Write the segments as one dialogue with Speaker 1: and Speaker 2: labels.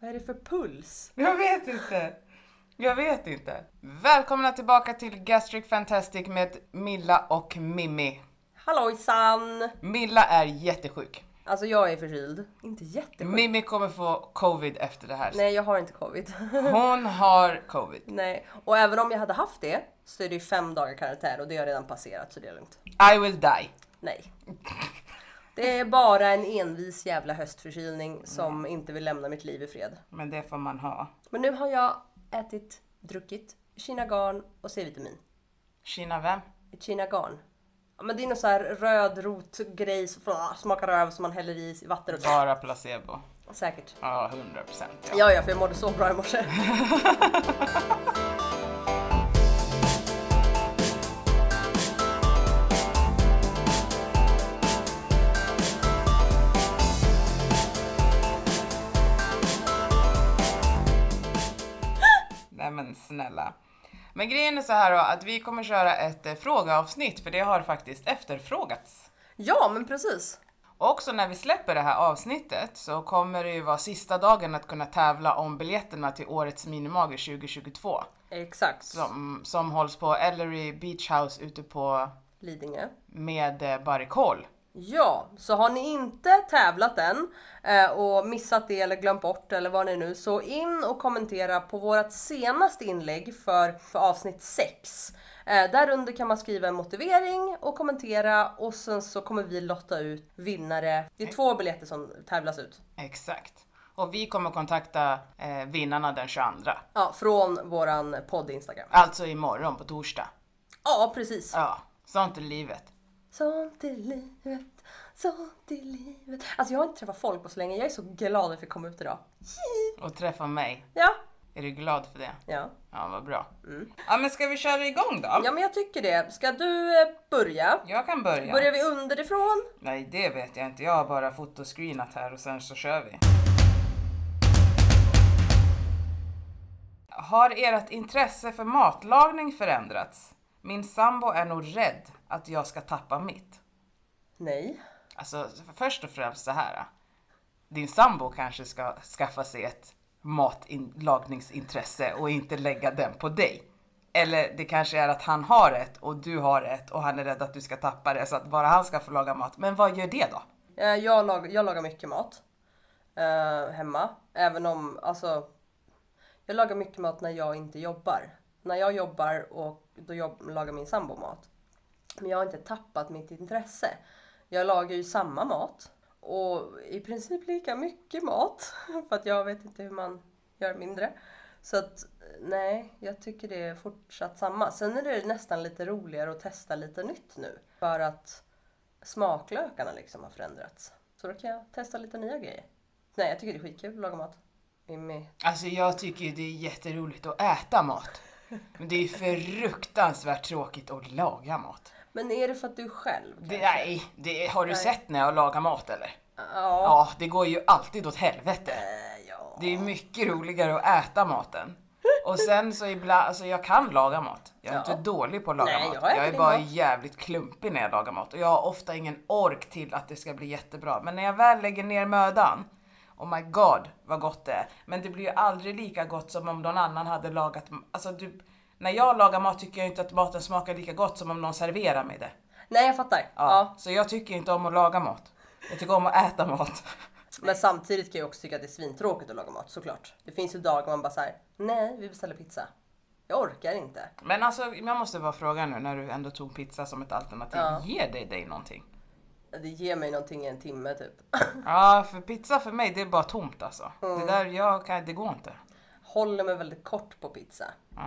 Speaker 1: Vad är det för puls?
Speaker 2: Jag vet inte. Jag vet inte. Välkomna tillbaka till Gastric Fantastic med Milla och Mimmi.
Speaker 1: Hallojsan!
Speaker 2: Milla är jättesjuk.
Speaker 1: Alltså jag är förkyld. Inte jättesjuk.
Speaker 2: Mimmi kommer få covid efter det här.
Speaker 1: Nej, jag har inte covid.
Speaker 2: Hon har covid.
Speaker 1: Nej, och även om jag hade haft det så är det ju fem dagar karantän och det har redan passerat så det är lugnt.
Speaker 2: I will die.
Speaker 1: Nej. Det är bara en envis jävla höstförkylning som inte vill lämna mitt liv i fred.
Speaker 2: Men det får man ha.
Speaker 1: Men nu har jag ätit, druckit kinagarn och C-vitamin.
Speaker 2: Kina vem?
Speaker 1: Ett kinagarn. Ja, men det är någon så här röd rotgrej som fla- smakar röv som man häller i vatten och
Speaker 2: Bara placebo.
Speaker 1: Säkert.
Speaker 2: Ja, 100 procent.
Speaker 1: Ja, ja, för jag mådde så bra i morse.
Speaker 2: Nej men snälla. Men grejen är så här då, att vi kommer köra ett eh, frågeavsnitt för det har faktiskt efterfrågats.
Speaker 1: Ja, men precis.
Speaker 2: Och också när vi släpper det här avsnittet så kommer det ju vara sista dagen att kunna tävla om biljetterna till årets minimager 2022.
Speaker 1: Exakt.
Speaker 2: Som, som hålls på Ellery Beach House ute på
Speaker 1: Lidingö.
Speaker 2: med eh, Barrikol.
Speaker 1: Ja, så har ni inte tävlat än eh, och missat det eller glömt bort eller vad ni nu så in och kommentera på vårt senaste inlägg för, för avsnitt 6. Eh, där under kan man skriva en motivering och kommentera och sen så kommer vi lotta ut vinnare. Det är två biljetter som tävlas ut.
Speaker 2: Exakt. Och vi kommer kontakta eh, vinnarna den 22.
Speaker 1: Ja, från våran podd Instagram.
Speaker 2: Alltså imorgon på torsdag.
Speaker 1: Ja, precis.
Speaker 2: Ja, sånt är livet.
Speaker 1: Sånt är livet, sånt är livet. Alltså jag har inte träffat folk på så länge. Jag är så glad att vi kom ut idag.
Speaker 2: Och träffa mig.
Speaker 1: Ja.
Speaker 2: Är du glad för det?
Speaker 1: Ja.
Speaker 2: Ja, vad bra. Ja, men ska vi köra igång då?
Speaker 1: ja, men jag tycker det. Ska du eh, börja?
Speaker 2: Jag kan börja.
Speaker 1: Börjar vi underifrån?
Speaker 2: Nej, det vet jag inte. Jag har bara fotoscreenat här och sen så kör vi. Har ert intresse för matlagning förändrats? Min sambo är nog rädd att jag ska tappa mitt.
Speaker 1: Nej.
Speaker 2: Alltså, först och främst så här. Din sambo kanske ska skaffa sig ett matlagningsintresse och inte lägga den på dig. Eller det kanske är att han har ett och du har ett och han är rädd att du ska tappa det så att bara han ska få laga mat. Men vad gör det då?
Speaker 1: Eh, Jag, lag, jag lagar mycket mat eh, hemma. Även om, alltså. Jag lagar mycket mat när jag inte jobbar. När jag jobbar och då jobb, lagar min sambo mat. Men jag har inte tappat mitt intresse. Jag lagar ju samma mat och i princip lika mycket mat för att jag vet inte hur man gör mindre. Så att nej, jag tycker det är fortsatt samma. Sen är det nästan lite roligare att testa lite nytt nu för att smaklökarna liksom har förändrats. Så då kan jag testa lite nya grejer. Nej, jag tycker det är skitkul att laga mat. Mimmi.
Speaker 2: Alltså jag tycker ju det är jätteroligt att äta mat. Men det är fruktansvärt tråkigt att laga mat.
Speaker 1: Men är det för att du är själv?
Speaker 2: Det,
Speaker 1: kanske?
Speaker 2: nej, det, har du
Speaker 1: Nej.
Speaker 2: sett när jag lagar mat eller?
Speaker 1: Ja.
Speaker 2: Ja, det går ju alltid åt helvete.
Speaker 1: Eh, ja.
Speaker 2: Det är mycket roligare att äta maten. Och sen så ibland, alltså jag kan laga mat. Jag är
Speaker 1: Ja.
Speaker 2: inte dålig på att laga
Speaker 1: Nej,
Speaker 2: mat.
Speaker 1: jag äter
Speaker 2: Jag är
Speaker 1: din
Speaker 2: bara
Speaker 1: mat.
Speaker 2: jävligt klumpig när jag lagar mat. Och jag har ofta ingen ork till att det ska bli jättebra. Men när jag väl lägger ner mödan, oh my god vad gott det är. Men det blir ju aldrig lika gott som om någon annan hade lagat, alltså du, när jag lagar mat tycker jag inte att maten smakar lika gott som om någon serverar mig det.
Speaker 1: Nej, jag fattar.
Speaker 2: Ja.
Speaker 1: Ja.
Speaker 2: Så jag tycker inte om att laga mat. Jag tycker om att äta mat.
Speaker 1: Men samtidigt kan jag också tycka att det är svintråkigt att laga mat såklart. Det finns ju dagar man bara säger nej vi beställer pizza. Jag orkar inte.
Speaker 2: Men alltså, jag måste bara fråga nu när du ändå tog pizza som ett alternativ.
Speaker 1: Ja.
Speaker 2: Ger det dig någonting?
Speaker 1: Det ger mig någonting i en timme typ.
Speaker 2: Ja, för pizza för mig det är bara tomt alltså. Det där, jag kan, det går inte.
Speaker 1: Håller mig väldigt kort på pizza.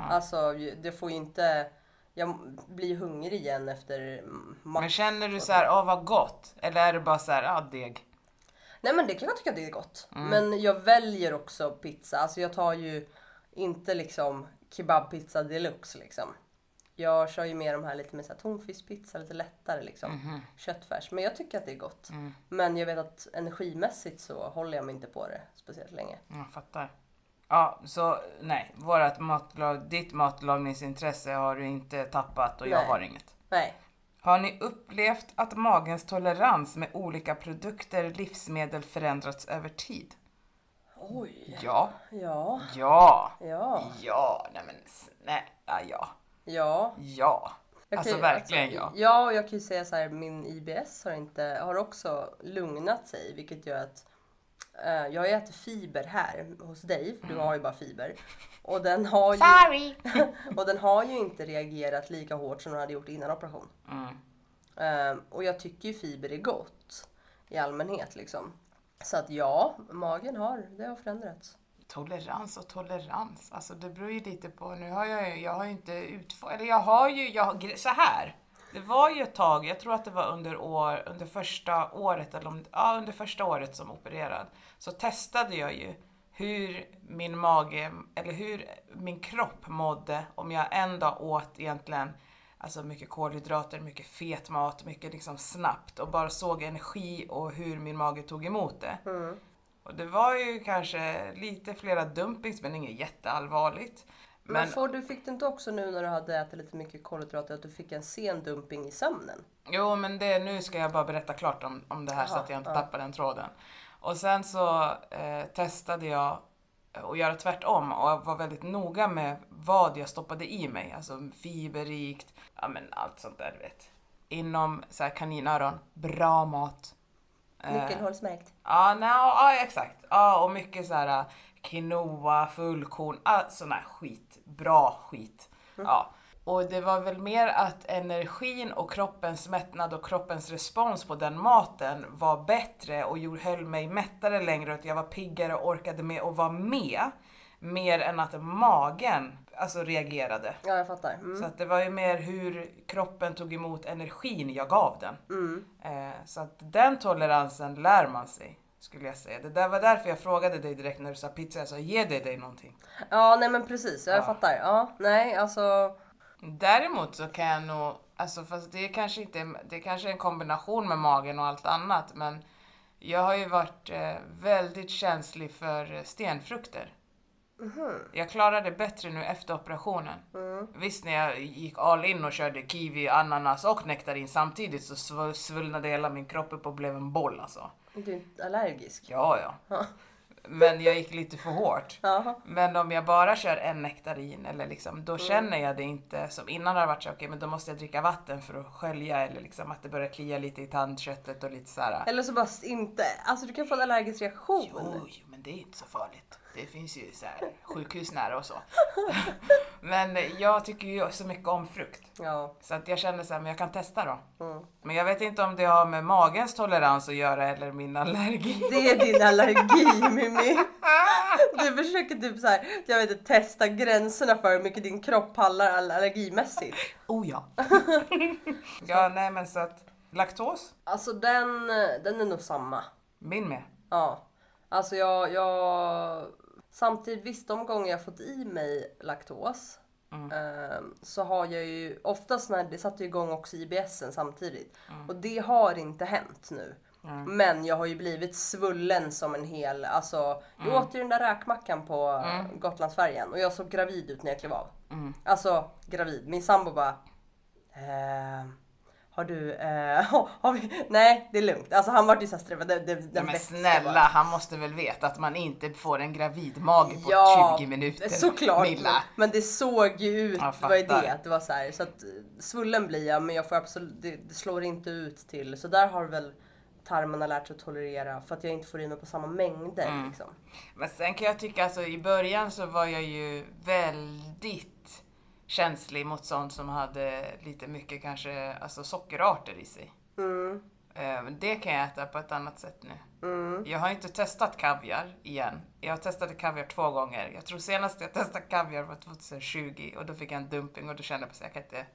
Speaker 1: Alltså ju- det får ju inte, jag blir hungrig igen efter mm, max.
Speaker 2: Men känner du så här, åh vad gott? Eller är det bara så här, ah deg?
Speaker 1: Nej men det kan jag tycka det är gott. Men jag väljer också pizza. Alltså jag tar ju inte liksom kebabpizza deluxe liksom. Jag kör ju med de här lite med så här tonfiskpizza, lite lättare liksom. Köttfärs. Men jag tycker att det är gott. Men jag vet att energimässigt så håller jag mig inte på det speciellt länge.
Speaker 2: Jag fattar. Ja, så nej, vårat matlag, ditt matlagningsintresse har du inte tappat och jag
Speaker 1: Nej.
Speaker 2: har inget.
Speaker 1: Nej.
Speaker 2: Har ni upplevt att magens tolerans med olika produkter, livsmedel förändrats över tid?
Speaker 1: Åh Oj.
Speaker 2: Ja,
Speaker 1: Ja.
Speaker 2: ja,
Speaker 1: Ja.
Speaker 2: ja, nej men snälla ja,
Speaker 1: Ja.
Speaker 2: ja.
Speaker 1: Jag kan
Speaker 2: Alltså
Speaker 1: ju-
Speaker 2: verkligen
Speaker 1: alltså,
Speaker 2: ja.
Speaker 1: Ja, och jag kan ju säga så här, min IBS har, inte, har också lugnat sig, vilket gör att eh, jag äter fiber här hos dig, för
Speaker 2: Mm.
Speaker 1: du har ju bara fiber. Och den har ju,
Speaker 2: Sorry!
Speaker 1: och den har ju inte reagerat lika hårt som den hade gjort innan operation.
Speaker 2: Mm.
Speaker 1: Eh, och jag tycker ju fiber är gott i allmänhet liksom. Så att ja, magen har, det har förändrats.
Speaker 2: Tolerans och tolerans, alltså det beror ju lite på, nu har jag ju, jag har ju inte utfört, eller jag har ju, jag, har- så här. Det var ju ett tag, jag tror att det var under, år, under första året, eller om, ja, under första året som opererad, så testade jag ju hur min mage, eller hur min kropp mådde om jag en dag åt egentligen Alltså mycket kolhydrater, mycket fet mat, mycket liksom snabbt och bara såg energi och hur min mage tog emot det. Och det var ju kanske lite flera dumpings men inget jätteallvarligt.
Speaker 1: Men,
Speaker 2: Men
Speaker 1: får du, fick du inte också nu när du hade ätit lite mycket kolhydrater att du fick en sen dumping i sömnen?
Speaker 2: Jo, men det, nu ska jag bara berätta klart om, om det här så att jag inte tappar den tråden. Och sen så eh, testade jag att göra tvärtom och var väldigt noga med vad jag stoppade i mig. Alltså fiberrikt, ja men allt sånt där du vet. Inom så här kaninöron, bra mat. Eh,
Speaker 1: Nyckelhålsmärkt.
Speaker 2: Ja, nej, ja exakt. Ja, och mycket så här äh, quinoa, fullkorn, all sån här skit. Bra skit. Ja. Och det var väl mer att energin och kroppens mättnad och kroppens respons på den maten var bättre och gjorde- höll mig mättare längre och att jag var piggare och orkade med och var med. Mer än att magen alltså reagerade.
Speaker 1: Ja, jag fattar. Mm.
Speaker 2: Så att det var ju mer hur kroppen tog emot energin jag gav den.
Speaker 1: Mm.
Speaker 2: Eh, så att den toleransen lär man sig, skulle jag säga. Det där var därför jag frågade dig direkt när du sa pizza, jag sa ge dig dig någonting.
Speaker 1: Ja, nej men precis. Jag fattar. Ja, nej alltså.
Speaker 2: Däremot så kan jag nog, alltså fast det är kanske inte, det kanske är en kombination med magen och allt annat, men jag har ju varit eh, väldigt känslig för eh, stenfrukter. Jag klarar det bättre nu efter operationen. Visst, när jag gick all in och körde kiwi, ananas och nektarin samtidigt så sv- svullnade hela min kropp upp och blev en boll alltså.
Speaker 1: Du är inte allergisk.
Speaker 2: Ja, ja. Men jag gick lite för hårt.
Speaker 1: Ja.
Speaker 2: Men om jag bara kör en nektarin eller liksom, då känner jag det inte som innan har det varit så okej, men då måste jag dricka vatten för att skölja eller liksom att det börjar klia lite i tandköttet och lite så här.
Speaker 1: Eller så bara inte. Alltså du kan få en allergisk reaktion.
Speaker 2: Jo, jo, men det är inte så farligt. Det finns ju så här sjukhus nära och så. men jag tycker ju så mycket om frukt.
Speaker 1: Ja.
Speaker 2: Så att jag känner så här, men jag kan testa då.
Speaker 1: Mm.
Speaker 2: Men jag vet inte om det har med magens tolerans att göra eller min allergi.
Speaker 1: Det är din allergi Mimmi. Du försöker typ så här, jag vet inte, testa gränserna för hur mycket din kropp pallar all- allergimässigt.
Speaker 2: Oh ja. ja, nej men så att laktos,
Speaker 1: Alltså den, den är nog samma.
Speaker 2: min med.
Speaker 1: Ja, alltså jag, jag... Samtidigt, visst de gånger jag fått i mig laktos
Speaker 2: Mm.
Speaker 1: eh, så har jag ju oftast när det satte ju igång också IBSen samtidigt
Speaker 2: Mm.
Speaker 1: och det har inte hänt nu. Men jag har ju blivit svullen som en hel, alltså jag
Speaker 2: Mm.
Speaker 1: åt ju den där räkmackan på mm. Gotlandsfärjan och jag såg gravid ut när jag klev av.
Speaker 2: Mm.
Speaker 1: Alltså gravid, min sambo bara ehm, har du, eh, har vi, nej det är lugnt. Alltså han vart ju såhär stressad. Det, det, den
Speaker 2: Ja, men
Speaker 1: växte bara.
Speaker 2: snälla, han måste väl veta att man inte får en gravidmage på 20 minuter.
Speaker 1: Såklart.
Speaker 2: Milla.
Speaker 1: Men det såg ju ut,
Speaker 2: Jag
Speaker 1: det var ju
Speaker 2: fattar.
Speaker 1: det. att det var så, här, så att eh, svullen blir jag men jag får absolut, det, det slår inte ut till. Så där har väl tarmarna lärt sig att tolerera för att jag inte får i mig på samma mängder.
Speaker 2: Mm.
Speaker 1: Liksom.
Speaker 2: Men sen kan jag tycka, alltså i början så var jag ju väldigt känslig mot sånt som hade lite mycket kanske, alltså sockerarter i sig. Eh, men Det kan jag äta på ett annat sätt nu. Jag har inte testat kaviar igen. Jag testade kaviar två gånger. Jag tror senast jag testade kaviar var 2020 och då fick jag en dumping och då kände jag att jag kan inte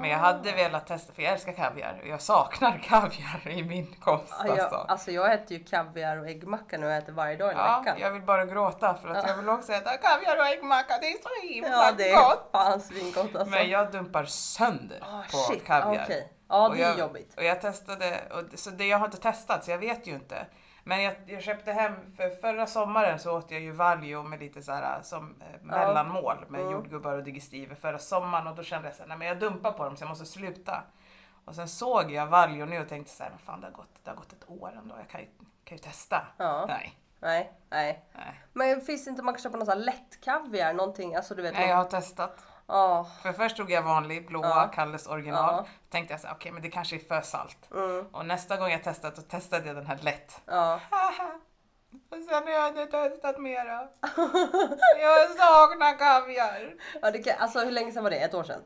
Speaker 2: men jag hade velat testa, för jag älskar kaviar och jag saknar kaviar i min kost.
Speaker 1: Ja, jag,
Speaker 2: alltså.
Speaker 1: alltså jag äter ju kaviar och äggmacka nu och äter varje dag i
Speaker 2: Ja,
Speaker 1: veckan.
Speaker 2: jag vill bara gråta för att jag vill också äta kaviar och äggmacka, det är så himla
Speaker 1: Ja det
Speaker 2: gott!
Speaker 1: är fan svingott alltså.
Speaker 2: Men jag dumpar sönder
Speaker 1: Ah,
Speaker 2: på
Speaker 1: shit,
Speaker 2: kaviar.
Speaker 1: okej. Ja,
Speaker 2: Och
Speaker 1: det är
Speaker 2: jag,
Speaker 1: jobbigt.
Speaker 2: Och jag testade, och, det- så det, jag har inte testat så jag vet ju inte. Men jag, jag köpte hem, för förra sommaren så åt jag ju valio med lite så här som eh, mellanmål med
Speaker 1: Mm.
Speaker 2: jordgubbar och digestiver förra sommaren och då kände jag så här, nej men jag dumpar på dem så jag måste sluta. Och sen såg jag valio nu och tänkte så här, men fan det har gått, det har gått ett år ändå, jag kan ju, kan ju testa.
Speaker 1: Ja.
Speaker 2: Nej.
Speaker 1: Nej, nej.
Speaker 2: Nej.
Speaker 1: Men finns det inte man kan köpa någon sån här lätt kaviar, någonting, alltså du vet.
Speaker 2: Nej,
Speaker 1: någon-
Speaker 2: jag har testat.
Speaker 1: Ja,
Speaker 2: För först tog jag vanlig blåa,
Speaker 1: Ja.
Speaker 2: Kalles original.
Speaker 1: Ja. Mm.
Speaker 2: Tänkte jag så här, okej men det kanske är för salt. Och nästa gång jag testat, då testade jag den här lätt.
Speaker 1: ja.
Speaker 2: Och sen har jag inte testat mera. jag saknar kaviar.
Speaker 1: ja det kan, alltså hur länge sedan var det? Ett år sedan?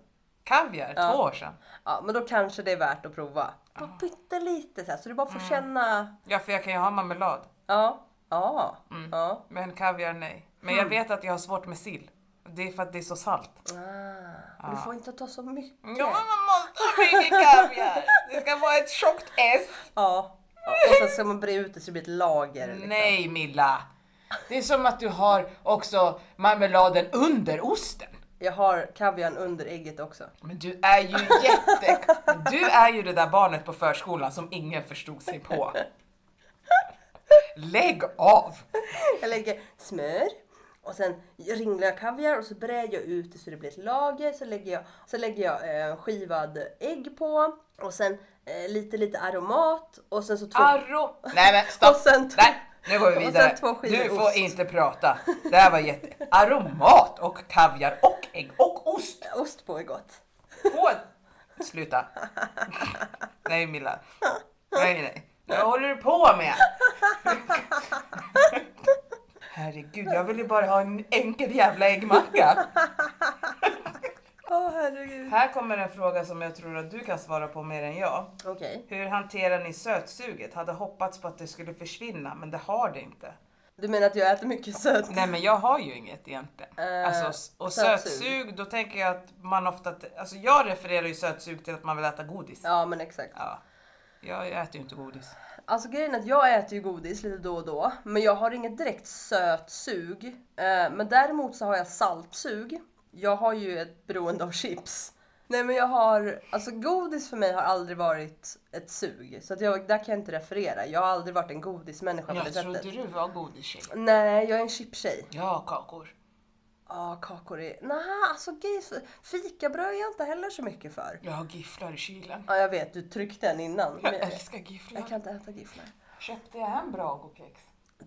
Speaker 2: Kaviar? Två år sedan.
Speaker 1: Ja, men då kanske det är värt att prova. Bara pyttelite så här, så du bara
Speaker 2: Mm.
Speaker 1: får känna.
Speaker 2: Ja, för jag kan ju ha marmelad.
Speaker 1: Ja, ja,
Speaker 2: Mm.
Speaker 1: ja.
Speaker 2: Men kaviar, nej. Men
Speaker 1: Mm.
Speaker 2: jag vet att jag har svårt med sill. Det är för att det är så salt.
Speaker 1: Ah, men Du får inte ta så mycket.
Speaker 2: Ja, men man måste ha mycket kaviar. Det ska vara ett tjockt S.
Speaker 1: Ja. ja, och sen ska man bre ut det så det blir ett lager. Liksom.
Speaker 2: Nej Milla! Det är som att du har också marmeladen under osten.
Speaker 1: Jag har kaviarn under ägget också.
Speaker 2: Men du är ju jätte... Du är ju det där barnet på förskolan som ingen förstod sig på. Lägg av!
Speaker 1: Jag lägger smör och sen ringlar jag kaviar och så brär jag ut det så det blir ett lager. Så lägger jag, så lägger jag eh, skivad ägg på och sen eh, lite, lite aromat och sen så två...
Speaker 2: Arro... Nej men Ah, stopp!
Speaker 1: Och sen två-
Speaker 2: Nej, nu går vi
Speaker 1: och sen
Speaker 2: vidare.
Speaker 1: två skivor
Speaker 2: Du får
Speaker 1: ost.
Speaker 2: inte prata. Det här var jätte... Aromat och kaviar och ägg och ost.
Speaker 1: Ost på är gott.
Speaker 2: Åh, Sluta. Nej Milla. Nej nej. Vad håller du på med? Herregud, jag vill ju bara ha en enkel jävla äggmacka.
Speaker 1: Åh herregud.
Speaker 2: Här kommer en fråga som jag tror att du kan svara på mer än jag.
Speaker 1: Okej.
Speaker 2: Hur hanterar ni sötsuget? Hade hoppats på att det skulle försvinna, men det har det inte.
Speaker 1: Du menar att jag äter mycket sött?
Speaker 2: Nej men jag har ju inget egentligen.
Speaker 1: Eh,
Speaker 2: alltså, s- och
Speaker 1: sötsug.
Speaker 2: sötsug, då tänker jag att man ofta... Alltså jag refererar ju sötsug till att man vill äta godis.
Speaker 1: Ja men exakt.
Speaker 2: Ja. Jag äter ju inte godis.
Speaker 1: Alltså grejen är att jag äter ju godis lite då och då. Men jag har inget direkt söt sug. Eh, men däremot så har jag saltsug. Jag har ju ett beroende av chips. Nej men jag har, alltså godis för mig har aldrig varit ett sug. Så att jag, där kan jag inte referera. Jag har aldrig varit en godismänniska på det
Speaker 2: Jag trodde
Speaker 1: sättet.
Speaker 2: du var godistjej.
Speaker 1: Nej, jag är en chipstjej.
Speaker 2: Ja, kakor.
Speaker 1: Ja, kakor är... Nej, alltså gris... Fikabröd är jag inte heller så mycket för.
Speaker 2: Jag har gifflar i kylen.
Speaker 1: Ja, jag vet. Du tryckte en innan.
Speaker 2: Jag
Speaker 1: Men jag,
Speaker 2: älskar gifflar.
Speaker 1: jag kan inte äta gifflar.
Speaker 2: Köpte jag hem Brago-kex?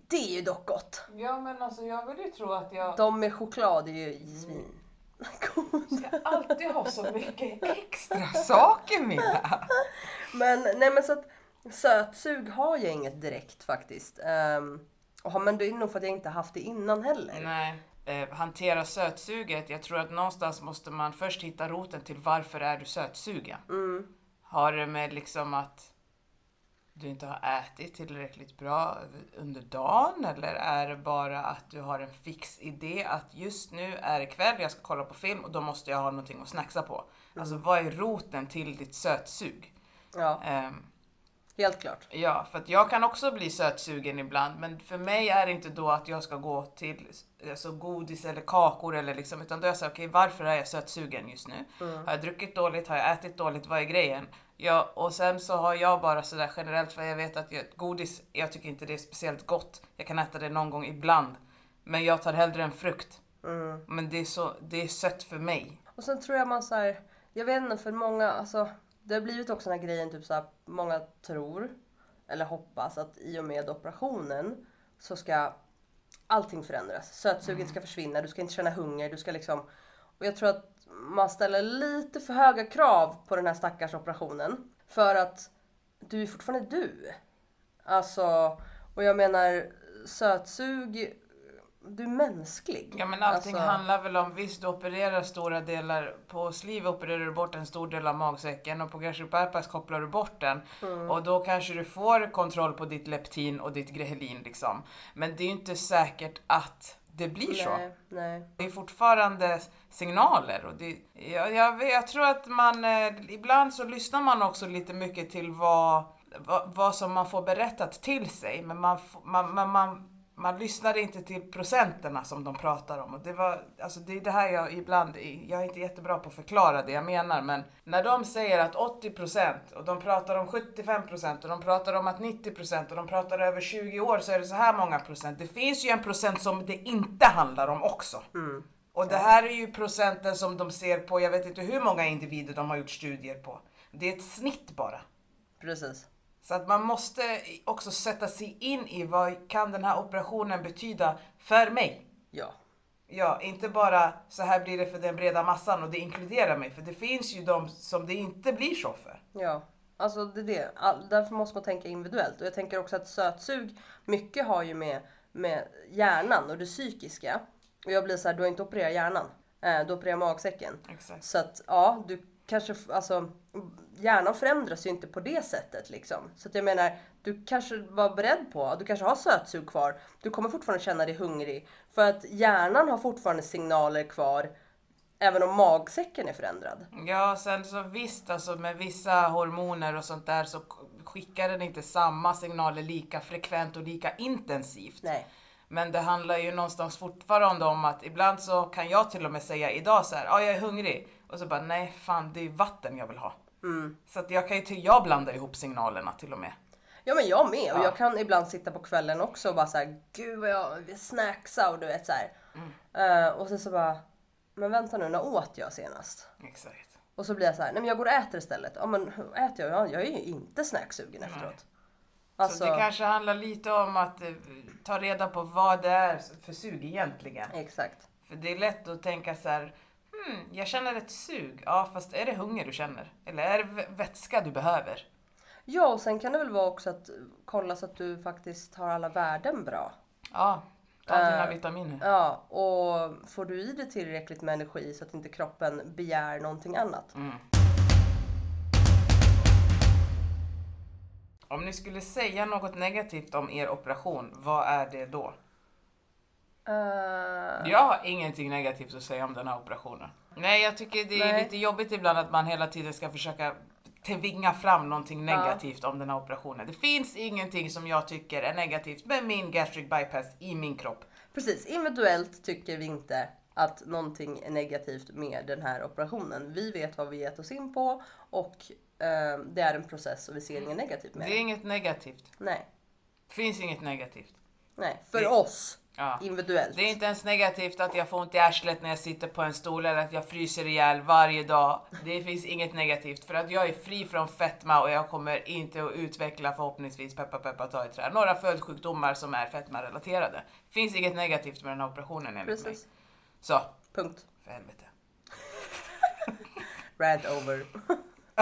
Speaker 1: Det är ju dock gott.
Speaker 2: Ja, men alltså jag vill ju tro att jag
Speaker 1: De med choklad är ju svin. Goda.
Speaker 2: ska alltid ha så mycket extra saker Milla.
Speaker 1: Men nej men så att sötsug har jag inget direkt faktiskt. Ehm, och har- men det är nog för att jag inte haft det innan heller.
Speaker 2: Nej. Eh, hantera sötsuget. Jag tror att någonstans måste man först hitta roten till varför är du sötsugen. Har det med liksom att du inte har ätit tillräckligt bra under dagen eller är det bara att du har en fix idé att just nu är det kväll, jag ska kolla på film och då måste jag ha någonting att snacksa på. Alltså vad är roten till ditt sötsug?
Speaker 1: Ja,
Speaker 2: Ehm,
Speaker 1: helt klart.
Speaker 2: Ja, för att jag kan också bli sötsugen ibland, men för mig är det inte då att jag ska gå till alltså, godis eller kakor eller liksom, utan då är jag såhär, okej varför är jag sötsugen just nu? Har jag druckit dåligt? Har jag ätit dåligt? Vad är grejen? Ja, och sen så har jag bara sådär generellt, för jag vet att jag, godis, jag tycker inte det är speciellt gott. Jag kan äta det någon gång ibland, men jag tar hellre en frukt. Men det är, så, det är sött för mig.
Speaker 1: Och sen tror jag man så här, jag vet inte för många, alltså det har blivit också den här grejen typ så här, många tror eller hoppas att i och med operationen så ska allting förändras. Sötsuget ska
Speaker 2: Mm.
Speaker 1: försvinna, du ska inte känna hunger, du ska liksom... Och jag tror att man ställer lite för höga krav på den här stackars operationen. För att du är fortfarande du. Alltså, och jag menar sötsug, du är mänsklig.
Speaker 2: Ja men allting
Speaker 1: Alltså-
Speaker 2: handlar väl om, visst du opererar stora delar, på sliv opererar du bort en stor del av magsäcken och på gastric bypass kopplar du bort den.
Speaker 1: Mm.
Speaker 2: Och då kanske du får kontroll på ditt leptin och ditt grehelin liksom. Men det är ju inte säkert att det blir så.
Speaker 1: Nej, nej.
Speaker 2: Det är fortfarande signaler och det, jag, jag, vet- jag tror att man, eh, ibland så lyssnar man också lite mycket till vad, vad, vad som man får berättat till sig men man, f- man, man, man, man lyssnar inte till procenterna som de pratar om och det var, alltså det är det här jag ibland, jag är inte jättebra på att förklara det jag menar men när de säger att 80% och de pratar om 75% och de pratar om att 90% och de pratar över 20 år så är det så här många procent. Det finns ju en procent som det inte handlar om också. Och det här är ju procenten som de ser på, jag vet inte hur många individer de har gjort studier på. Det är ett snitt bara.
Speaker 1: Precis.
Speaker 2: Så att man måste också sätta sig in i vad kan den här operationen betyda för mig?
Speaker 1: Ja.
Speaker 2: Ja, inte bara så här blir det för den breda massan och det inkluderar mig. För det finns ju de som det inte blir så för.
Speaker 1: Ja, alltså det är det. All, därför måste man tänka individuellt. Och jag tänker också att sötsug, mycket har ju med, med hjärnan och det psykiska. Och jag blir så här, du har inte opererat hjärnan. Eh, du opererar magsäcken.
Speaker 2: Exakt.
Speaker 1: Så att ja, du kanske, f- alltså hjärnan förändras ju inte på det sättet liksom. Så att jag menar, du kanske var beredd på, du kanske har sötsug kvar. Du kommer fortfarande känna dig hungrig. För att hjärnan har fortfarande signaler kvar. Även om magsäcken är förändrad.
Speaker 2: Ja, sen så visst alltså med vissa hormoner och sånt där så k- skickar den inte samma signaler lika frekvent och lika intensivt.
Speaker 1: Nej.
Speaker 2: Men det handlar ju någonstans fortfarande om att ibland så kan jag till och med säga idag så här, ja jag är hungrig. Och så bara, nej fan det är ju vatten jag vill ha. Så att jag kan ju till, jag blandar ihop signalerna till och med.
Speaker 1: Ja men jag med och
Speaker 2: Ja.
Speaker 1: jag kan ibland sitta på kvällen också och bara såhär gud vad jag vill snacksa och du vet såhär.
Speaker 2: Mm.
Speaker 1: Eh, och sen så bara men vänta nu när åt jag senast?
Speaker 2: Exakt.
Speaker 1: Och så blir jag så här, nej men jag går och äter istället. Ja men hur äter jag? Ja, jag är ju inte snacksugen efteråt. Alltså,
Speaker 2: Så det kanske handlar lite om att eh, ta reda på vad det är för sug egentligen.
Speaker 1: Exakt.
Speaker 2: För det är lätt att tänka så här, hmm, jag känner ett sug. Ja, fast är det hunger du känner? Eller är det v- vätska du behöver?
Speaker 1: Ja och sen kan det väl vara också att eh, kolla så att du faktiskt har alla värden bra.
Speaker 2: Ja, ta dina vitaminer.
Speaker 1: Ja och får du i dig tillräckligt med energi så att inte kroppen begär någonting annat.
Speaker 2: Mm. Om ni skulle säga något negativt om er operation, vad är det då?
Speaker 1: Eh,
Speaker 2: Jag har ingenting negativt att säga om den här operationen. Nej, jag tycker det är
Speaker 1: Nej.
Speaker 2: lite jobbigt ibland att man hela tiden ska försöka tvinga fram någonting negativt om den här operationen. Det finns ingenting som jag tycker är negativt med min gastric bypass i min kropp.
Speaker 1: Precis, individuellt tycker vi inte att någonting är negativt med den här operationen. Vi vet vad vi gett oss in på och eh, det är en process och vi ser inget negativt med
Speaker 2: Det är
Speaker 1: det.
Speaker 2: inget negativt.
Speaker 1: Nej,
Speaker 2: finns inget negativt.
Speaker 1: nej, för oss
Speaker 2: Ja.
Speaker 1: individuellt.
Speaker 2: Det är inte ens negativt att jag får ont i arslet när jag sitter på en stol eller att jag fryser ihjäl varje dag. Det finns inget negativt för att jag är fri från fetma och jag kommer inte att utveckla förhoppningsvis peppa peppa ta i trä. Några följdsjukdomar som är fetmarelaterade. Finns inget negativt med den här operationen enligt mig.
Speaker 1: Precis,
Speaker 2: Så,
Speaker 1: punkt.
Speaker 2: för helvete.
Speaker 1: Rant over.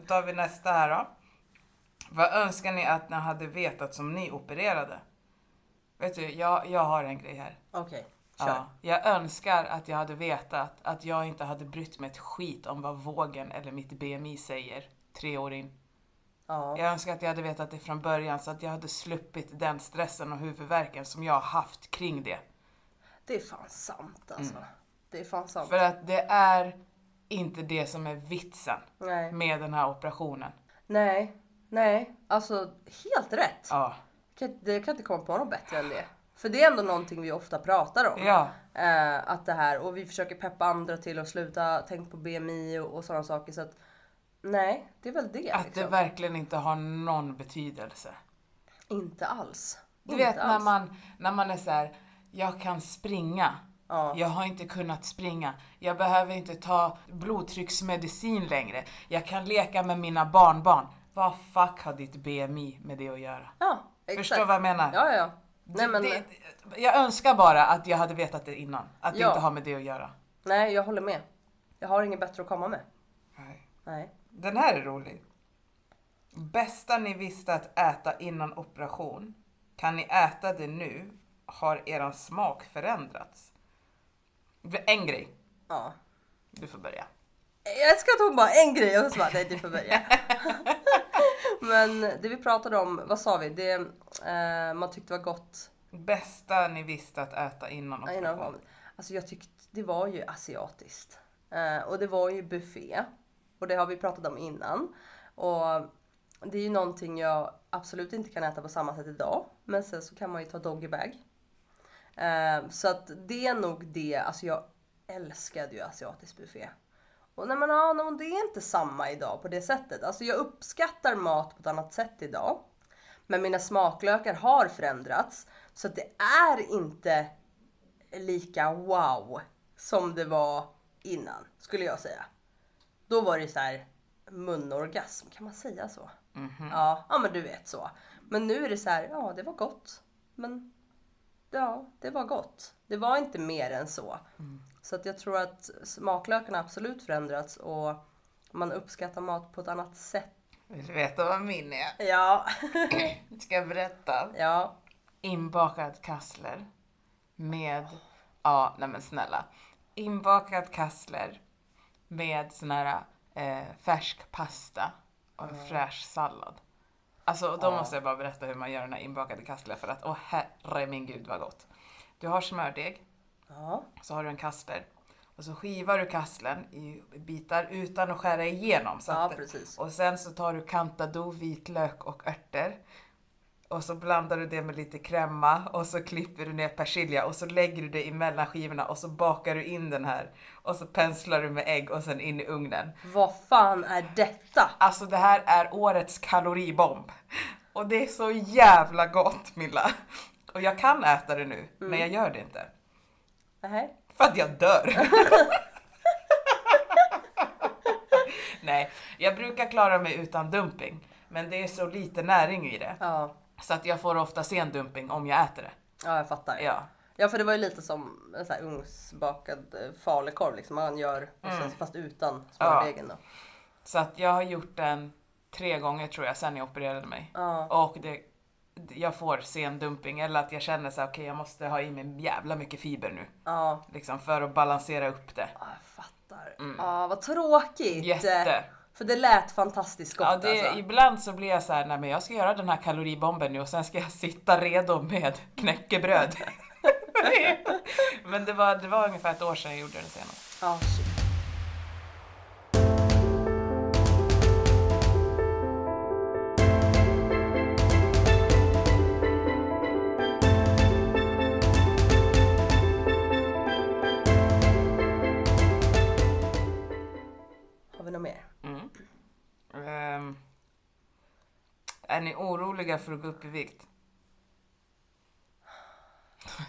Speaker 2: Då tar vi nästa här då. Vad önskar ni att ni hade vetat som ni opererade? Vet du, jag, jag har en grej här.
Speaker 1: Okej, kör.
Speaker 2: Ja, jag önskar att jag hade vetat att jag inte hade brytt mig ett skit om vad vågen eller mitt BMI säger tre år in.
Speaker 1: Ja.
Speaker 2: Jag önskar att jag hade vetat det från början så att jag hade sluppit den stressen och huvudvärken som jag har haft kring det.
Speaker 1: Det är fan sant alltså. Det är fan sant.
Speaker 2: Mm. För att det är inte det som är vitsen
Speaker 1: Nej,
Speaker 2: med den här operationen.
Speaker 1: nej, nej. Alltså helt rätt.
Speaker 2: Ja,
Speaker 1: Kan- Det kan inte komma på något bättre än det. För det är ändå någonting vi ofta pratar om.
Speaker 2: ja,
Speaker 1: Eh, att det här och vi försöker peppa andra till att sluta tänka på BMI och, och sådana saker så att nej, det är väl det.
Speaker 2: att det
Speaker 1: liksom.
Speaker 2: verkligen inte har någon betydelse.
Speaker 1: Inte alls.
Speaker 2: Du
Speaker 1: inte
Speaker 2: vet när
Speaker 1: alls.
Speaker 2: man, när man är så här, jag kan springa.
Speaker 1: Ja.
Speaker 2: Jag har inte kunnat springa. Jag behöver inte ta blodtrycksmedicin längre. Jag kan leka med mina barnbarn. Vad fuck har ditt BMI med det att göra?
Speaker 1: Ja, exakt.
Speaker 2: Förstår vad jag menar?
Speaker 1: Ja, ja. Nej, men,
Speaker 2: det, jag önskar bara att jag hade vetat det innan. Att det
Speaker 1: Ja.
Speaker 2: inte har med det att göra.
Speaker 1: nej, jag håller med. Jag har inget bättre att komma med. Nej.
Speaker 2: Den här är rolig. Bästa ni visste att äta innan operation. Kan ni äta det nu? Har eran smak förändrats? En grej.
Speaker 1: Ja.
Speaker 2: Du får börja.
Speaker 1: Jag älskar att hon bara en grej och så bara nej du får börja. men det vi pratade om, vad sa vi? Det eh, man tyckte var gott
Speaker 2: Bästa ni visste att äta innan
Speaker 1: Ja,
Speaker 2: operation.
Speaker 1: Innan ramen. Alltså jag tyckte det var ju asiatiskt. Eh, och det var ju buffé. Och det har vi pratat om innan. Och det är ju någonting jag absolut inte kan äta på samma sätt idag. Men sen så kan man ju ta doggybag. Eh, så att det är nog det. Alltså jag älskade ju asiatisk buffé. Och nej men ja, no, det är inte samma idag på det sättet. Alltså jag uppskattar mat på ett annat sätt idag. Men mina smaklökar har förändrats. Så att det är inte lika wow som det var innan, skulle jag säga. Då var det så här munorgasm, kan man säga så? Ja, ja men du vet så. Men nu är det så här, ja det var gott. Men ja, det var gott. Det var inte mer än så.
Speaker 2: Mm.
Speaker 1: Så att jag tror att smaklökarna absolut förändrats och man uppskattar mat på ett annat sätt.
Speaker 2: Vill du veta vad min är?
Speaker 1: Ja,
Speaker 2: Ska jag berätta?
Speaker 1: ja,
Speaker 2: Inbakad kassler med, ja nej men snälla. Inbakad kassler med sån här eh, färsk pasta och en fräsch sallad. Alltså och då måste jag bara berätta hur man gör den här inbakade kassler för att åh herre min gud vad gott. Du har smördeg,
Speaker 1: ja,
Speaker 2: så har du en kassler och så skivar du kasslen i bitar utan att skära igenom. Så
Speaker 1: ja
Speaker 2: att,
Speaker 1: precis.
Speaker 2: och sen så tar du kantado, vitlök och örter. Och så blandar du det med lite krämma och så klipper du ner persilja och så lägger du det emellan skivorna och så bakar du in den här. Och så penslar du med ägg och sen in i ugnen.
Speaker 1: Vad fan är detta?
Speaker 2: Alltså det här är årets kaloribomb. Och det är så jävla gott Milla. Och jag kan äta det nu,
Speaker 1: Mm.
Speaker 2: men jag gör det inte.
Speaker 1: Nej.
Speaker 2: För att jag dör. Nej, jag brukar klara mig utan dumping. Men det är så lite näring i det.
Speaker 1: Ja,
Speaker 2: Så att jag får ofta sen dumping om jag äter det.
Speaker 1: ja jag fattar.
Speaker 2: Ja.
Speaker 1: Ja för det var ju lite som en så här ugnsbakad eh, falukorv liksom. Man gör och
Speaker 2: Mm.
Speaker 1: sen, fast utan smördegen då.
Speaker 2: Så att jag har gjort den tre gånger tror jag sen jag opererade mig.
Speaker 1: Ja.
Speaker 2: Och det, jag får sen dumping eller att jag känner så här, okej jag måste ha i mig jävla mycket fiber nu.
Speaker 1: Ja,
Speaker 2: Liksom för att balansera upp det.
Speaker 1: ja, jag fattar. Ja, vad tråkigt.
Speaker 2: Mm. Jätte.
Speaker 1: För det lät fantastiskt gott
Speaker 2: Ja, det,
Speaker 1: alltså.
Speaker 2: Ibland så blir jag så här, nej men jag ska göra den här kaloribomben nu och sen ska jag sitta redo med knäckebröd. men det var, det var ungefär ett år sedan jag gjorde den senast.
Speaker 1: Ja, shit. Har vi något mer?
Speaker 2: Ehm, är ni oroliga för att gå upp i vikt?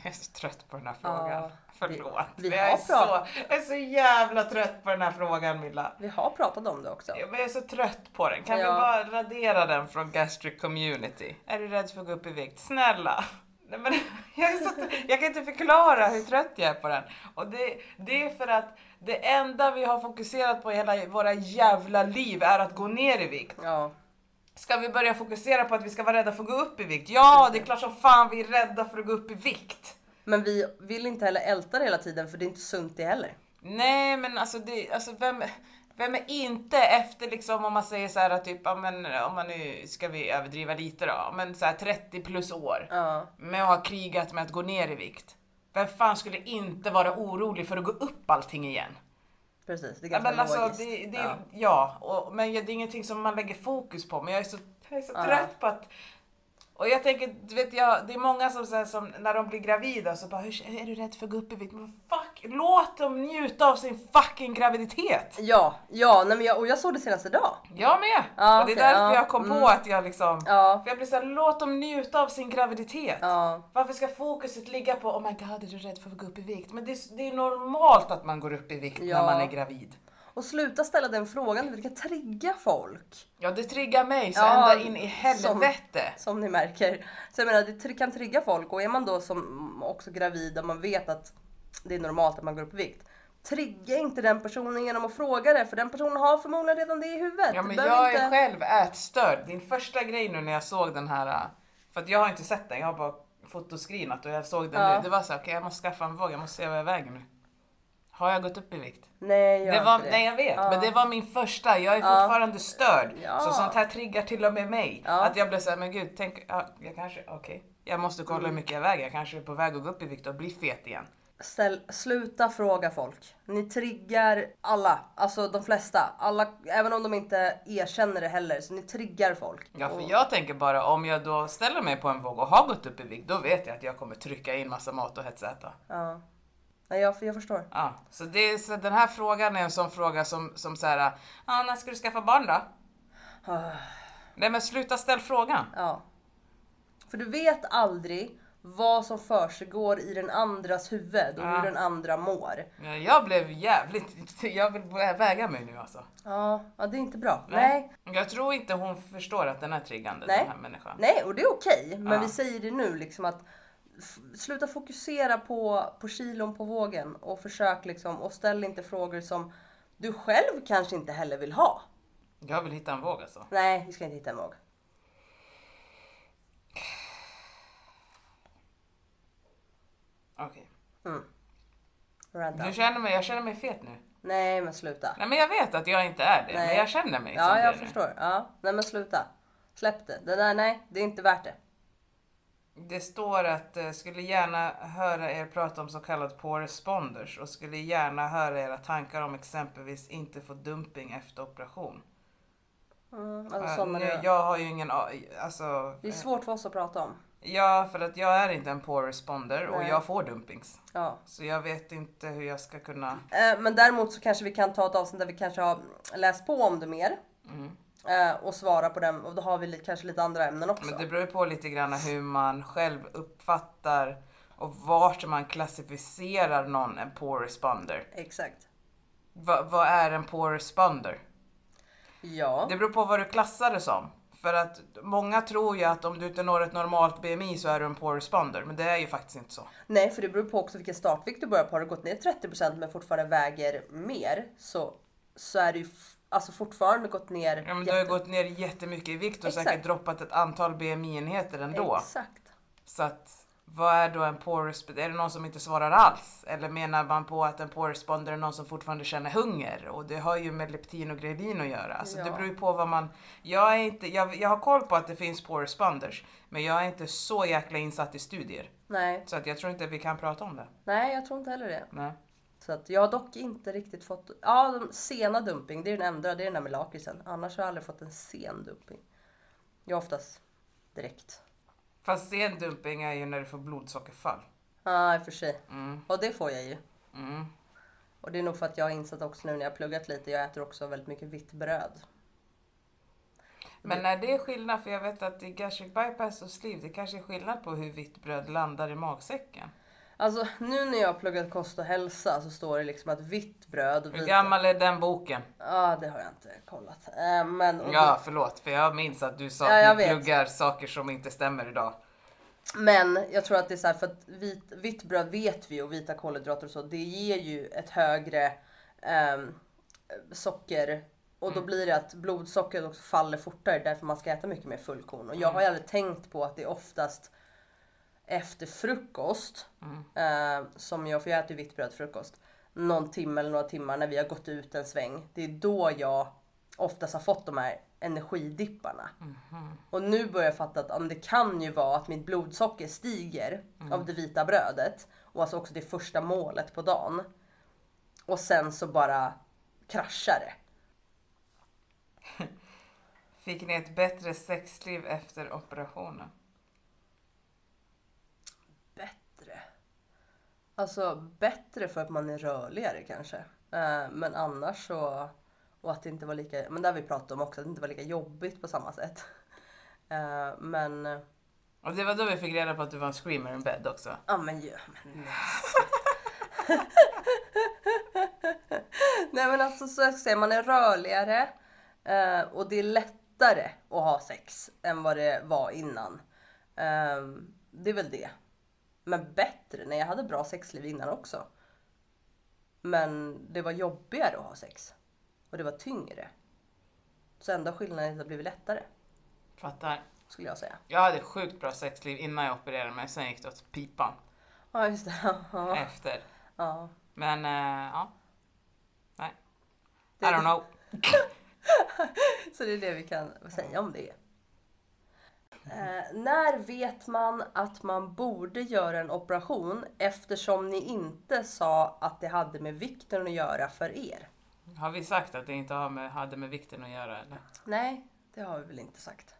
Speaker 2: Jag är så trött på den här frågan.
Speaker 1: Ja, vi-
Speaker 2: Förlåt.
Speaker 1: vi
Speaker 2: Men
Speaker 1: har
Speaker 2: jag, är så,
Speaker 1: pratat.
Speaker 2: jag är så jävla trött på den här frågan Milla.
Speaker 1: Vi har pratat om det också.
Speaker 2: Ja, men Jag är så trött på den. Kan vi
Speaker 1: Ja.
Speaker 2: bara radera den från gastric community? Är du rädd för att gå upp i vikt? Snälla! Nej, men jag, är så tr- jag kan inte förklara hur trött jag är på den. Och det, det är för att det enda vi har fokuserat på i hela våra jävla liv är att gå ner i vikt.
Speaker 1: Ja,
Speaker 2: Ska vi börja fokusera på att vi ska vara rädda för att gå upp i vikt? Ja, det är klart som fan vi är rädda för att gå upp i vikt.
Speaker 1: men vi vill inte heller älta det hela tiden för det är inte sunt det heller.
Speaker 2: Nej, men alltså, det, alltså vem, vem är inte efter liksom om man säger så här att typ, ja, men, om man nu ska vi överdriva lite då, men så här 30 plus år
Speaker 1: Ja,
Speaker 2: med att ha krigat med att gå ner i vikt. Vem fan skulle inte vara orolig för att gå upp allting igen?
Speaker 1: precis. Det är
Speaker 2: Ja,
Speaker 1: ganska
Speaker 2: men alltså,
Speaker 1: logiskt.
Speaker 2: det, det, ja,
Speaker 1: ja.
Speaker 2: och, men det är ingenting som man lägger fokus på, men jag är så, jag är så
Speaker 1: Ja.
Speaker 2: trött på att och jag tänker, du vet jag, det är många som, så här, som när de blir gravida så bara hur, är du rädd för att gå upp i vikt? Men fuck, låt dem njuta av sin fucking graviditet!
Speaker 1: ja, ja nej, men jag, och jag såg det senast idag.
Speaker 2: Jag med!
Speaker 1: Ja,
Speaker 2: och det
Speaker 1: okej,
Speaker 2: är därför
Speaker 1: ja,
Speaker 2: jag kom
Speaker 1: mm.
Speaker 2: på att jag liksom,
Speaker 1: Ja,
Speaker 2: för jag blir såhär, låt dem njuta av sin graviditet!
Speaker 1: ja.
Speaker 2: Varför ska fokuset ligga på, oh my god är du rädd för att gå upp i vikt? Men det är, det är normalt att man går upp i vikt
Speaker 1: Ja.
Speaker 2: när man är gravid.
Speaker 1: Och sluta ställa den frågan, det kan trigga folk.
Speaker 2: Ja, det triggar mig så
Speaker 1: Ja,
Speaker 2: ända in i
Speaker 1: som-
Speaker 2: helvete.
Speaker 1: Som ni märker. Så jag menar, det tr- kan trigga folk och är man då som också gravid och man vet att det är normalt att man går upp i vikt. Trigga inte den personen genom att fråga det för den personen har förmodligen redan det i huvudet.
Speaker 2: Ja,
Speaker 1: Du
Speaker 2: men
Speaker 1: behöver
Speaker 2: jag
Speaker 1: inte-
Speaker 2: är själv ätstörd. Din första grej nu när jag såg den här, äh, för att jag har inte sett den, jag har bara fotoscreenat och jag såg den
Speaker 1: Ja.
Speaker 2: nu. Det var så här, okej jag måste skaffa en våg, jag måste se vad jag väger nu. Har jag gått upp i vikt?
Speaker 1: Nej, jag
Speaker 2: Det var,
Speaker 1: inte det.
Speaker 2: nej jag vet,
Speaker 1: Ja.
Speaker 2: men det var min första, jag är
Speaker 1: Ja.
Speaker 2: fortfarande störd.
Speaker 1: Ja.
Speaker 2: Så sånt här triggar till och med mig.
Speaker 1: Ja.
Speaker 2: Att jag blev såhär, men gud, tänk, ja, jag kanske, okej. Jag måste kolla hur mycket jag väger, jag kanske är på väg att gå upp i vikt och bli fet igen.
Speaker 1: Ställ, sluta fråga folk. Ni triggar alla, alltså de flesta. Alla, även om de inte erkänner det heller, så ni triggar folk.
Speaker 2: Ja, för jag tänker bara om jag då ställer mig på en våg och har gått upp i vikt, då vet jag att jag kommer trycka in massa mat och hetsäta.
Speaker 1: Ja. Nej, jag, jag förstår.
Speaker 2: Ja, så, det, är- så den här frågan är en sån fråga som, som så här, ah, när ska du skaffa barn då?
Speaker 1: Ah.
Speaker 2: Nej men sluta ställ frågan.
Speaker 1: Ja. För du vet aldrig vad som försiggår i den andras huvud och
Speaker 2: Ja.
Speaker 1: hur den andra mår.
Speaker 2: Ja, Jag blev jävligt... Jag vill vä- väga mig nu alltså.
Speaker 1: Ja, ja det är inte bra. Nej.
Speaker 2: Jag tror inte hon förstår att den är triggande,
Speaker 1: Nej.
Speaker 2: den här människan.
Speaker 1: Nej, och det är okej. Men
Speaker 2: Ja.
Speaker 1: vi säger det nu liksom att f- sluta fokusera på, på kilon på vågen och försök liksom och ställ inte frågor som du själv kanske inte heller vill ha.
Speaker 2: Jag vill hitta en våg alltså.
Speaker 1: Nej, vi ska inte hitta en våg.
Speaker 2: Okej.
Speaker 1: Ranta.
Speaker 2: Du känner mig, jag känner mig fet nu.
Speaker 1: Nej, men sluta.
Speaker 2: Nej men jag vet att jag inte är det, men
Speaker 1: Nej.
Speaker 2: jag känner mig som
Speaker 1: Ja,
Speaker 2: det
Speaker 1: jag
Speaker 2: nu.
Speaker 1: förstår. Ja, nej men sluta. Släpp det. Det där, nej, det är inte värt det.
Speaker 2: Det står att eh, skulle gärna höra er prata om så kallat på responders och skulle gärna höra era tankar om exempelvis inte få dumping efter operation.
Speaker 1: Mm, alltså,
Speaker 2: Eh,
Speaker 1: sådana
Speaker 2: nu,
Speaker 1: grejer.
Speaker 2: jag har ju ingen a- alltså,
Speaker 1: Det är svårt för oss att prata om.
Speaker 2: ja för att jag är inte en poor responder och
Speaker 1: Nej.
Speaker 2: jag får dumpings.
Speaker 1: Ja.
Speaker 2: Så jag vet inte hur jag ska kunna...
Speaker 1: Eh, Men däremot så kanske vi kan ta ett avsnitt där vi kanske har läst på om det mer.
Speaker 2: Mm.
Speaker 1: Eh, Och svara på den och då har vi li- kanske lite andra ämnen också.
Speaker 2: Men det beror ju på lite grann hur man själv uppfattar och vart man klassificerar någon en poor responder.
Speaker 1: Exakt.
Speaker 2: Va, vad är en poor responder?
Speaker 1: Ja.
Speaker 2: Det beror på vad du klassar det som. För att många tror ju att om du inte når ett normalt BMI så är du en poor responder. Men det är ju faktiskt inte så.
Speaker 1: Nej för det beror på också vilken startvikt du börjar på. Har du gått ner 30% men fortfarande väger mer så, så är du ju f- alltså fortfarande gått ner
Speaker 2: Ja, men Du har ju
Speaker 1: jätte-
Speaker 2: gått ner jättemycket i vikt och
Speaker 1: Exakt.
Speaker 2: säkert droppat ett antal BMI-enheter ändå.
Speaker 1: Exakt.
Speaker 2: Så att vad är då en poor responder? Är det någon som inte svarar alls? Eller menar man på att en poor responder är någon som fortfarande känner hunger? Och det har ju med leptin och grelin att göra. Alltså det
Speaker 1: Ja.
Speaker 2: beror ju på vad man... Jag, är inte, jag, jag har koll på att det finns poor responders. Men jag är inte så jäkla insatt i studier.
Speaker 1: Nej.
Speaker 2: Så att jag tror inte vi kan prata om det.
Speaker 1: Nej jag tror inte heller det.
Speaker 2: Nej.
Speaker 1: Så att jag har dock inte riktigt fått, ja de sena dumping det är den enda, det är den där med lakritsen. Annars har jag aldrig fått en sen dumping. Jag har oftast direkt.
Speaker 2: Fast sen dumping är ju när du får blodsockerfall.
Speaker 1: Ja Ah, i och för sig.
Speaker 2: Mm.
Speaker 1: Och det får jag ju.
Speaker 2: Mm.
Speaker 1: Och det är nog för att jag har insett också nu när jag har pluggat lite, jag äter också väldigt mycket vitt bröd.
Speaker 2: Men när det är skillnad, för jag vet att i gastric bypass och sleeve, det kanske är skillnad på hur vitt bröd landar i magsäcken.
Speaker 1: Alltså nu när jag har pluggat kost och hälsa så står det liksom att vitt bröd och
Speaker 2: Hur
Speaker 1: vit...
Speaker 2: gammal är den boken?
Speaker 1: Ja det har jag inte kollat. Eh, men, och
Speaker 2: Ja, förlåt, för jag minns att du sa
Speaker 1: Ja, jag
Speaker 2: att du
Speaker 1: vet.
Speaker 2: pluggar saker som inte stämmer idag.
Speaker 1: men jag tror att det är så här för att vit, vitt bröd vet vi och vita kolhydrater och så, det ger ju ett högre ehm, socker och då blir det att blodsockret också faller fortare därför man ska äta mycket mer fullkorn. Och jag har ju aldrig tänkt på att det är oftast efter frukost eh, som jag, för jag äter ju vitt bröd till frukost, någon timme eller några timmar när vi har gått ut en sväng. Det är då jag oftast har fått de här energidipparna. Och nu börjar jag fatta att om det kan ju vara att mitt blodsocker stiger av det vita brödet och alltså också det första målet på dagen. Och sen så bara kraschar det.
Speaker 2: Fick ni ett bättre sexliv efter operationen?
Speaker 1: Bättre. Alltså bättre för att man är rörligare kanske. Eh, men annars så... Och att det inte var lika... Men det har vi pratat om också, att det inte var lika jobbigt på samma sätt. Eh, men...
Speaker 2: Och det var då vi fick reda på att du var en screamer in bed också.
Speaker 1: Ja men ja, men nej. Nej men alltså så jag ska säga, man är rörligare eh, och det är lättare att ha sex än vad det var innan. Ehm, det är väl det. Men bättre, nej jag hade bra sexliv innan också. Men det var jobbigare att ha sex. Och det var tyngre. Så enda skillnaden är att det har blivit lättare,
Speaker 2: Fattar.
Speaker 1: skulle jag säga.
Speaker 2: Jag hade sjukt bra sexliv innan jag opererade mig, sen gick det åt pipan
Speaker 1: Ja just det. Ja.
Speaker 2: efter.
Speaker 1: ja.
Speaker 2: Men eh, ja. Nej. I
Speaker 1: Det-
Speaker 2: don't know.
Speaker 1: Så det är det vi kan säga om det. Eh, när vet man att man borde göra en operation eftersom ni inte sa att det hade med vikten att göra för er?
Speaker 2: Har vi sagt att det inte har med, hade med vikten att göra eller?
Speaker 1: Nej, det har vi väl inte sagt.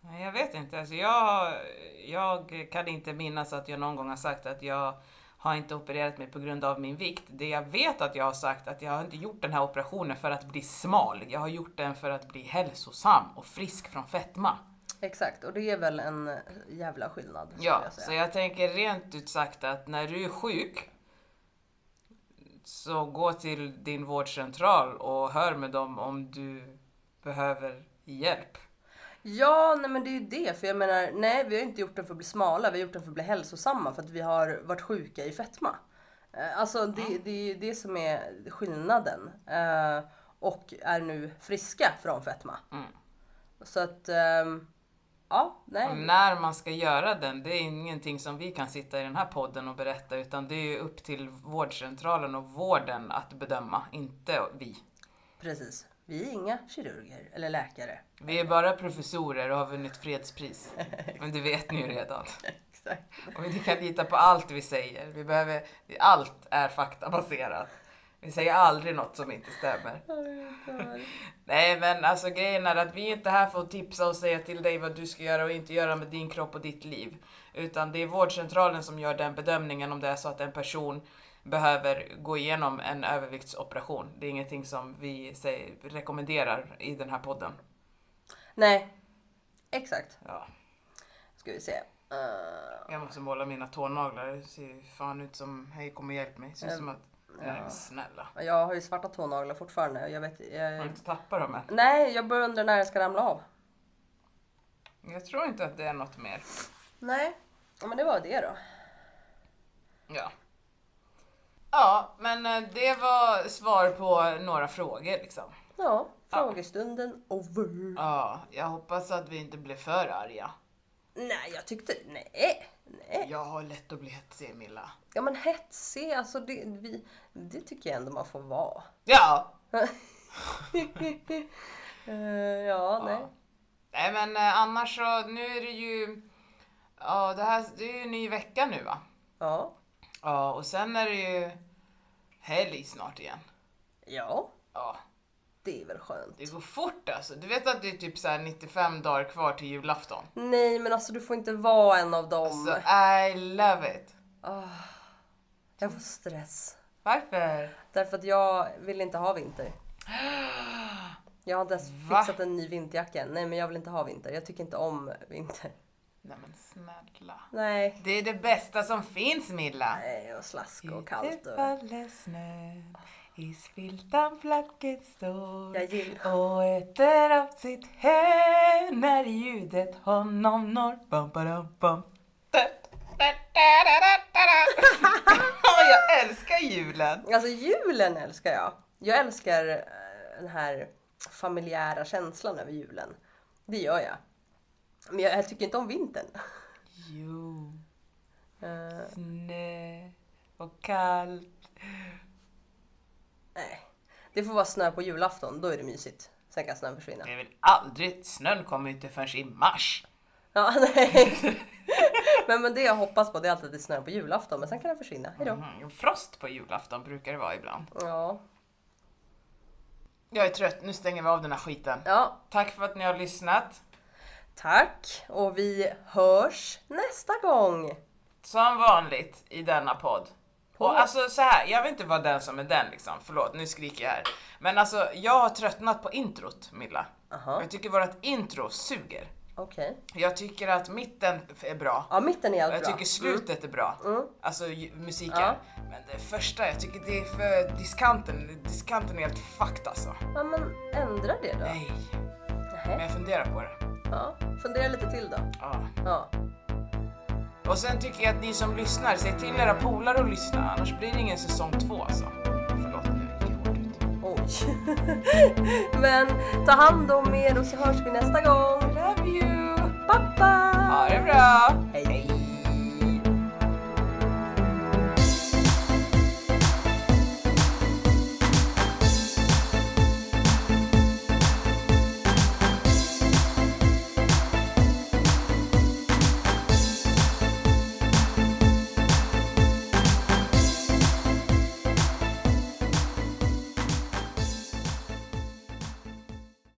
Speaker 2: Nej, jag vet inte. Alltså, jag, jag kan inte minnas att jag någon gång har sagt att jag har inte opererat mig på grund av min vikt. Det jag vet att jag har sagt att jag har inte gjort den här operationen för att bli smal. Jag har gjort den för att bli hälsosam och frisk från fetma.
Speaker 1: Exakt, och det är väl en jävla skillnad. skulle
Speaker 2: Ja,
Speaker 1: jag säga.
Speaker 2: så jag tänker rent ut sagt att när du är sjuk så gå till din vårdcentral och hör med dem om du behöver hjälp.
Speaker 1: Ja, nej men det är ju det. För jag menar, nej vi har inte gjort den för att bli smala, vi har gjort den för att bli hälsosamma för att vi har varit sjuka i fetma. Eh, Alltså det, det är ju det som är skillnaden. Eh, och är nu friska från fetma. Så att, ehm, ja, nej.
Speaker 2: Och när man ska göra den, det är ingenting som vi kan sitta i den här podden och berätta utan det är ju upp till vårdcentralen och vården att bedöma, inte vi.
Speaker 1: Precis. Vi är inga kirurger eller läkare.
Speaker 2: Vi är bara professorer och har vunnit fredspris. Men det vet ni ju redan.
Speaker 1: Exakt.
Speaker 2: Och ni kan lita på allt vi säger. Vi behöver, allt är faktabaserat. Vi säger aldrig något som inte stämmer. Nej men alltså grejen är att vi är inte här för att tipsa och säga till dig vad du ska göra och inte göra med din kropp och ditt liv. Utan det är vårdcentralen som gör den bedömningen om det är så att en person behöver gå igenom en överviktsoperation. Det är ingenting som vi säger, rekommenderar i den här podden.
Speaker 1: Nej, exakt.
Speaker 2: Ja.
Speaker 1: Ska vi se. Eh,
Speaker 2: Jag måste måla mina tånaglar, det ser ju fan ut som hej kom och hjälp mig. Ser ut som att, nej men snälla.
Speaker 1: jag har ju svarta tånaglar fortfarande. Jag vet,
Speaker 2: Har du
Speaker 1: jag...
Speaker 2: inte tappat dem än?
Speaker 1: Nej, jag börjar undra när jag ska ramla av.
Speaker 2: Jag tror inte att det är något mer.
Speaker 1: Nej, ja, men det var det då.
Speaker 2: Ja. Ja, men eh, det var svar på några frågor liksom.
Speaker 1: Ja, frågestunden over.
Speaker 2: Ja, jag hoppas att vi inte blev för arga.
Speaker 1: Nej, jag tyckte... Nej, nej.
Speaker 2: Jag har lätt att bli hetsig Milla.
Speaker 1: Ja men hetsig, alltså det, vi, det tycker jag ändå man får vara.
Speaker 2: Ja!
Speaker 1: Eh, ja, nej.
Speaker 2: ja. Nej men eh, annars så, nu är det ju, ja det här, det är ju en ny vecka nu va?
Speaker 1: Ja.
Speaker 2: Ja, och sen är det ju helg snart igen.
Speaker 1: Ja,
Speaker 2: Ja,
Speaker 1: det är väl skönt.
Speaker 2: det går fort alltså. Du vet att det är typ så här 95 dagar kvar till julafton?
Speaker 1: Nej men alltså du får inte vara en av dem.
Speaker 2: Så I love it.
Speaker 1: Jag får stress.
Speaker 2: Varför?
Speaker 1: Därför att jag vill inte ha vinter. Jag har inte ens
Speaker 2: Va?
Speaker 1: fixat en ny vinterjacka än. Nej men jag vill inte ha vinter. Jag tycker inte om vinter.
Speaker 2: Nej men snälla.
Speaker 1: Nej.
Speaker 2: Det är det bästa som finns Milla.
Speaker 1: Nej, och slask och kallt och...
Speaker 2: faller snön, i spiltan flacket står
Speaker 1: Jag gillar...
Speaker 2: och äter av sitt hö när ljudet honom når. Bam, badam, bam. Da, da, da, da, da, da, da. Åh, Jag älskar julen!
Speaker 1: Alltså julen älskar jag. Jag älskar eh, den här familjära känslan över julen. Det gör jag. Men jag, jag tycker inte om vintern.
Speaker 2: Jo,
Speaker 1: Eh,
Speaker 2: snö och kallt.
Speaker 1: nej. Det får vara snö på julafton, då är det mysigt. Sen kan snön försvinna.
Speaker 2: Det är väl aldrig, snön kommer ju inte förrän i mars.
Speaker 1: Ja, nej. men, men det jag hoppas på det är alltid att det snöar på julafton, men sen kan den försvinna. Hejdå.
Speaker 2: Mm, frost på julafton brukar det vara ibland.
Speaker 1: Ja.
Speaker 2: Jag är trött, nu stänger vi av den här skiten.
Speaker 1: ja,
Speaker 2: Tack för att ni har lyssnat.
Speaker 1: tack. Och vi hörs nästa gång.
Speaker 2: Som vanligt i denna podd. Och alltså så här, jag vill inte vara den som är den liksom. Förlåt, nu skriker jag här. Men alltså, jag har tröttnat på introt, Milla.
Speaker 1: Aha.
Speaker 2: Jag tycker vårt intro suger.
Speaker 1: Okej.
Speaker 2: Jag tycker att mitten är bra.
Speaker 1: Ja, mitten är allt
Speaker 2: Jag
Speaker 1: bra. Mm.
Speaker 2: tycker slutet är bra. Alltså ju- musiken.
Speaker 1: Ja.
Speaker 2: Men det första, jag tycker det är för diskanten. Diskanten är helt fucked alltså.
Speaker 1: Ja, men ändra det då.
Speaker 2: Nej, men
Speaker 1: Nej.
Speaker 2: jag funderar på det.
Speaker 1: Ja, fundera lite till då.
Speaker 2: Ja.
Speaker 1: Ja.
Speaker 2: Och sen tycker jag att ni som lyssnar, säg till era polare att lyssna annars blir det ingen säsong två alltså. Förlåt nu gick jag hårt ut.
Speaker 1: Oj. Men ta hand om er och så hörs vi nästa gång.
Speaker 2: Love you!
Speaker 1: Pappa!
Speaker 2: Ha det bra!
Speaker 1: Hej.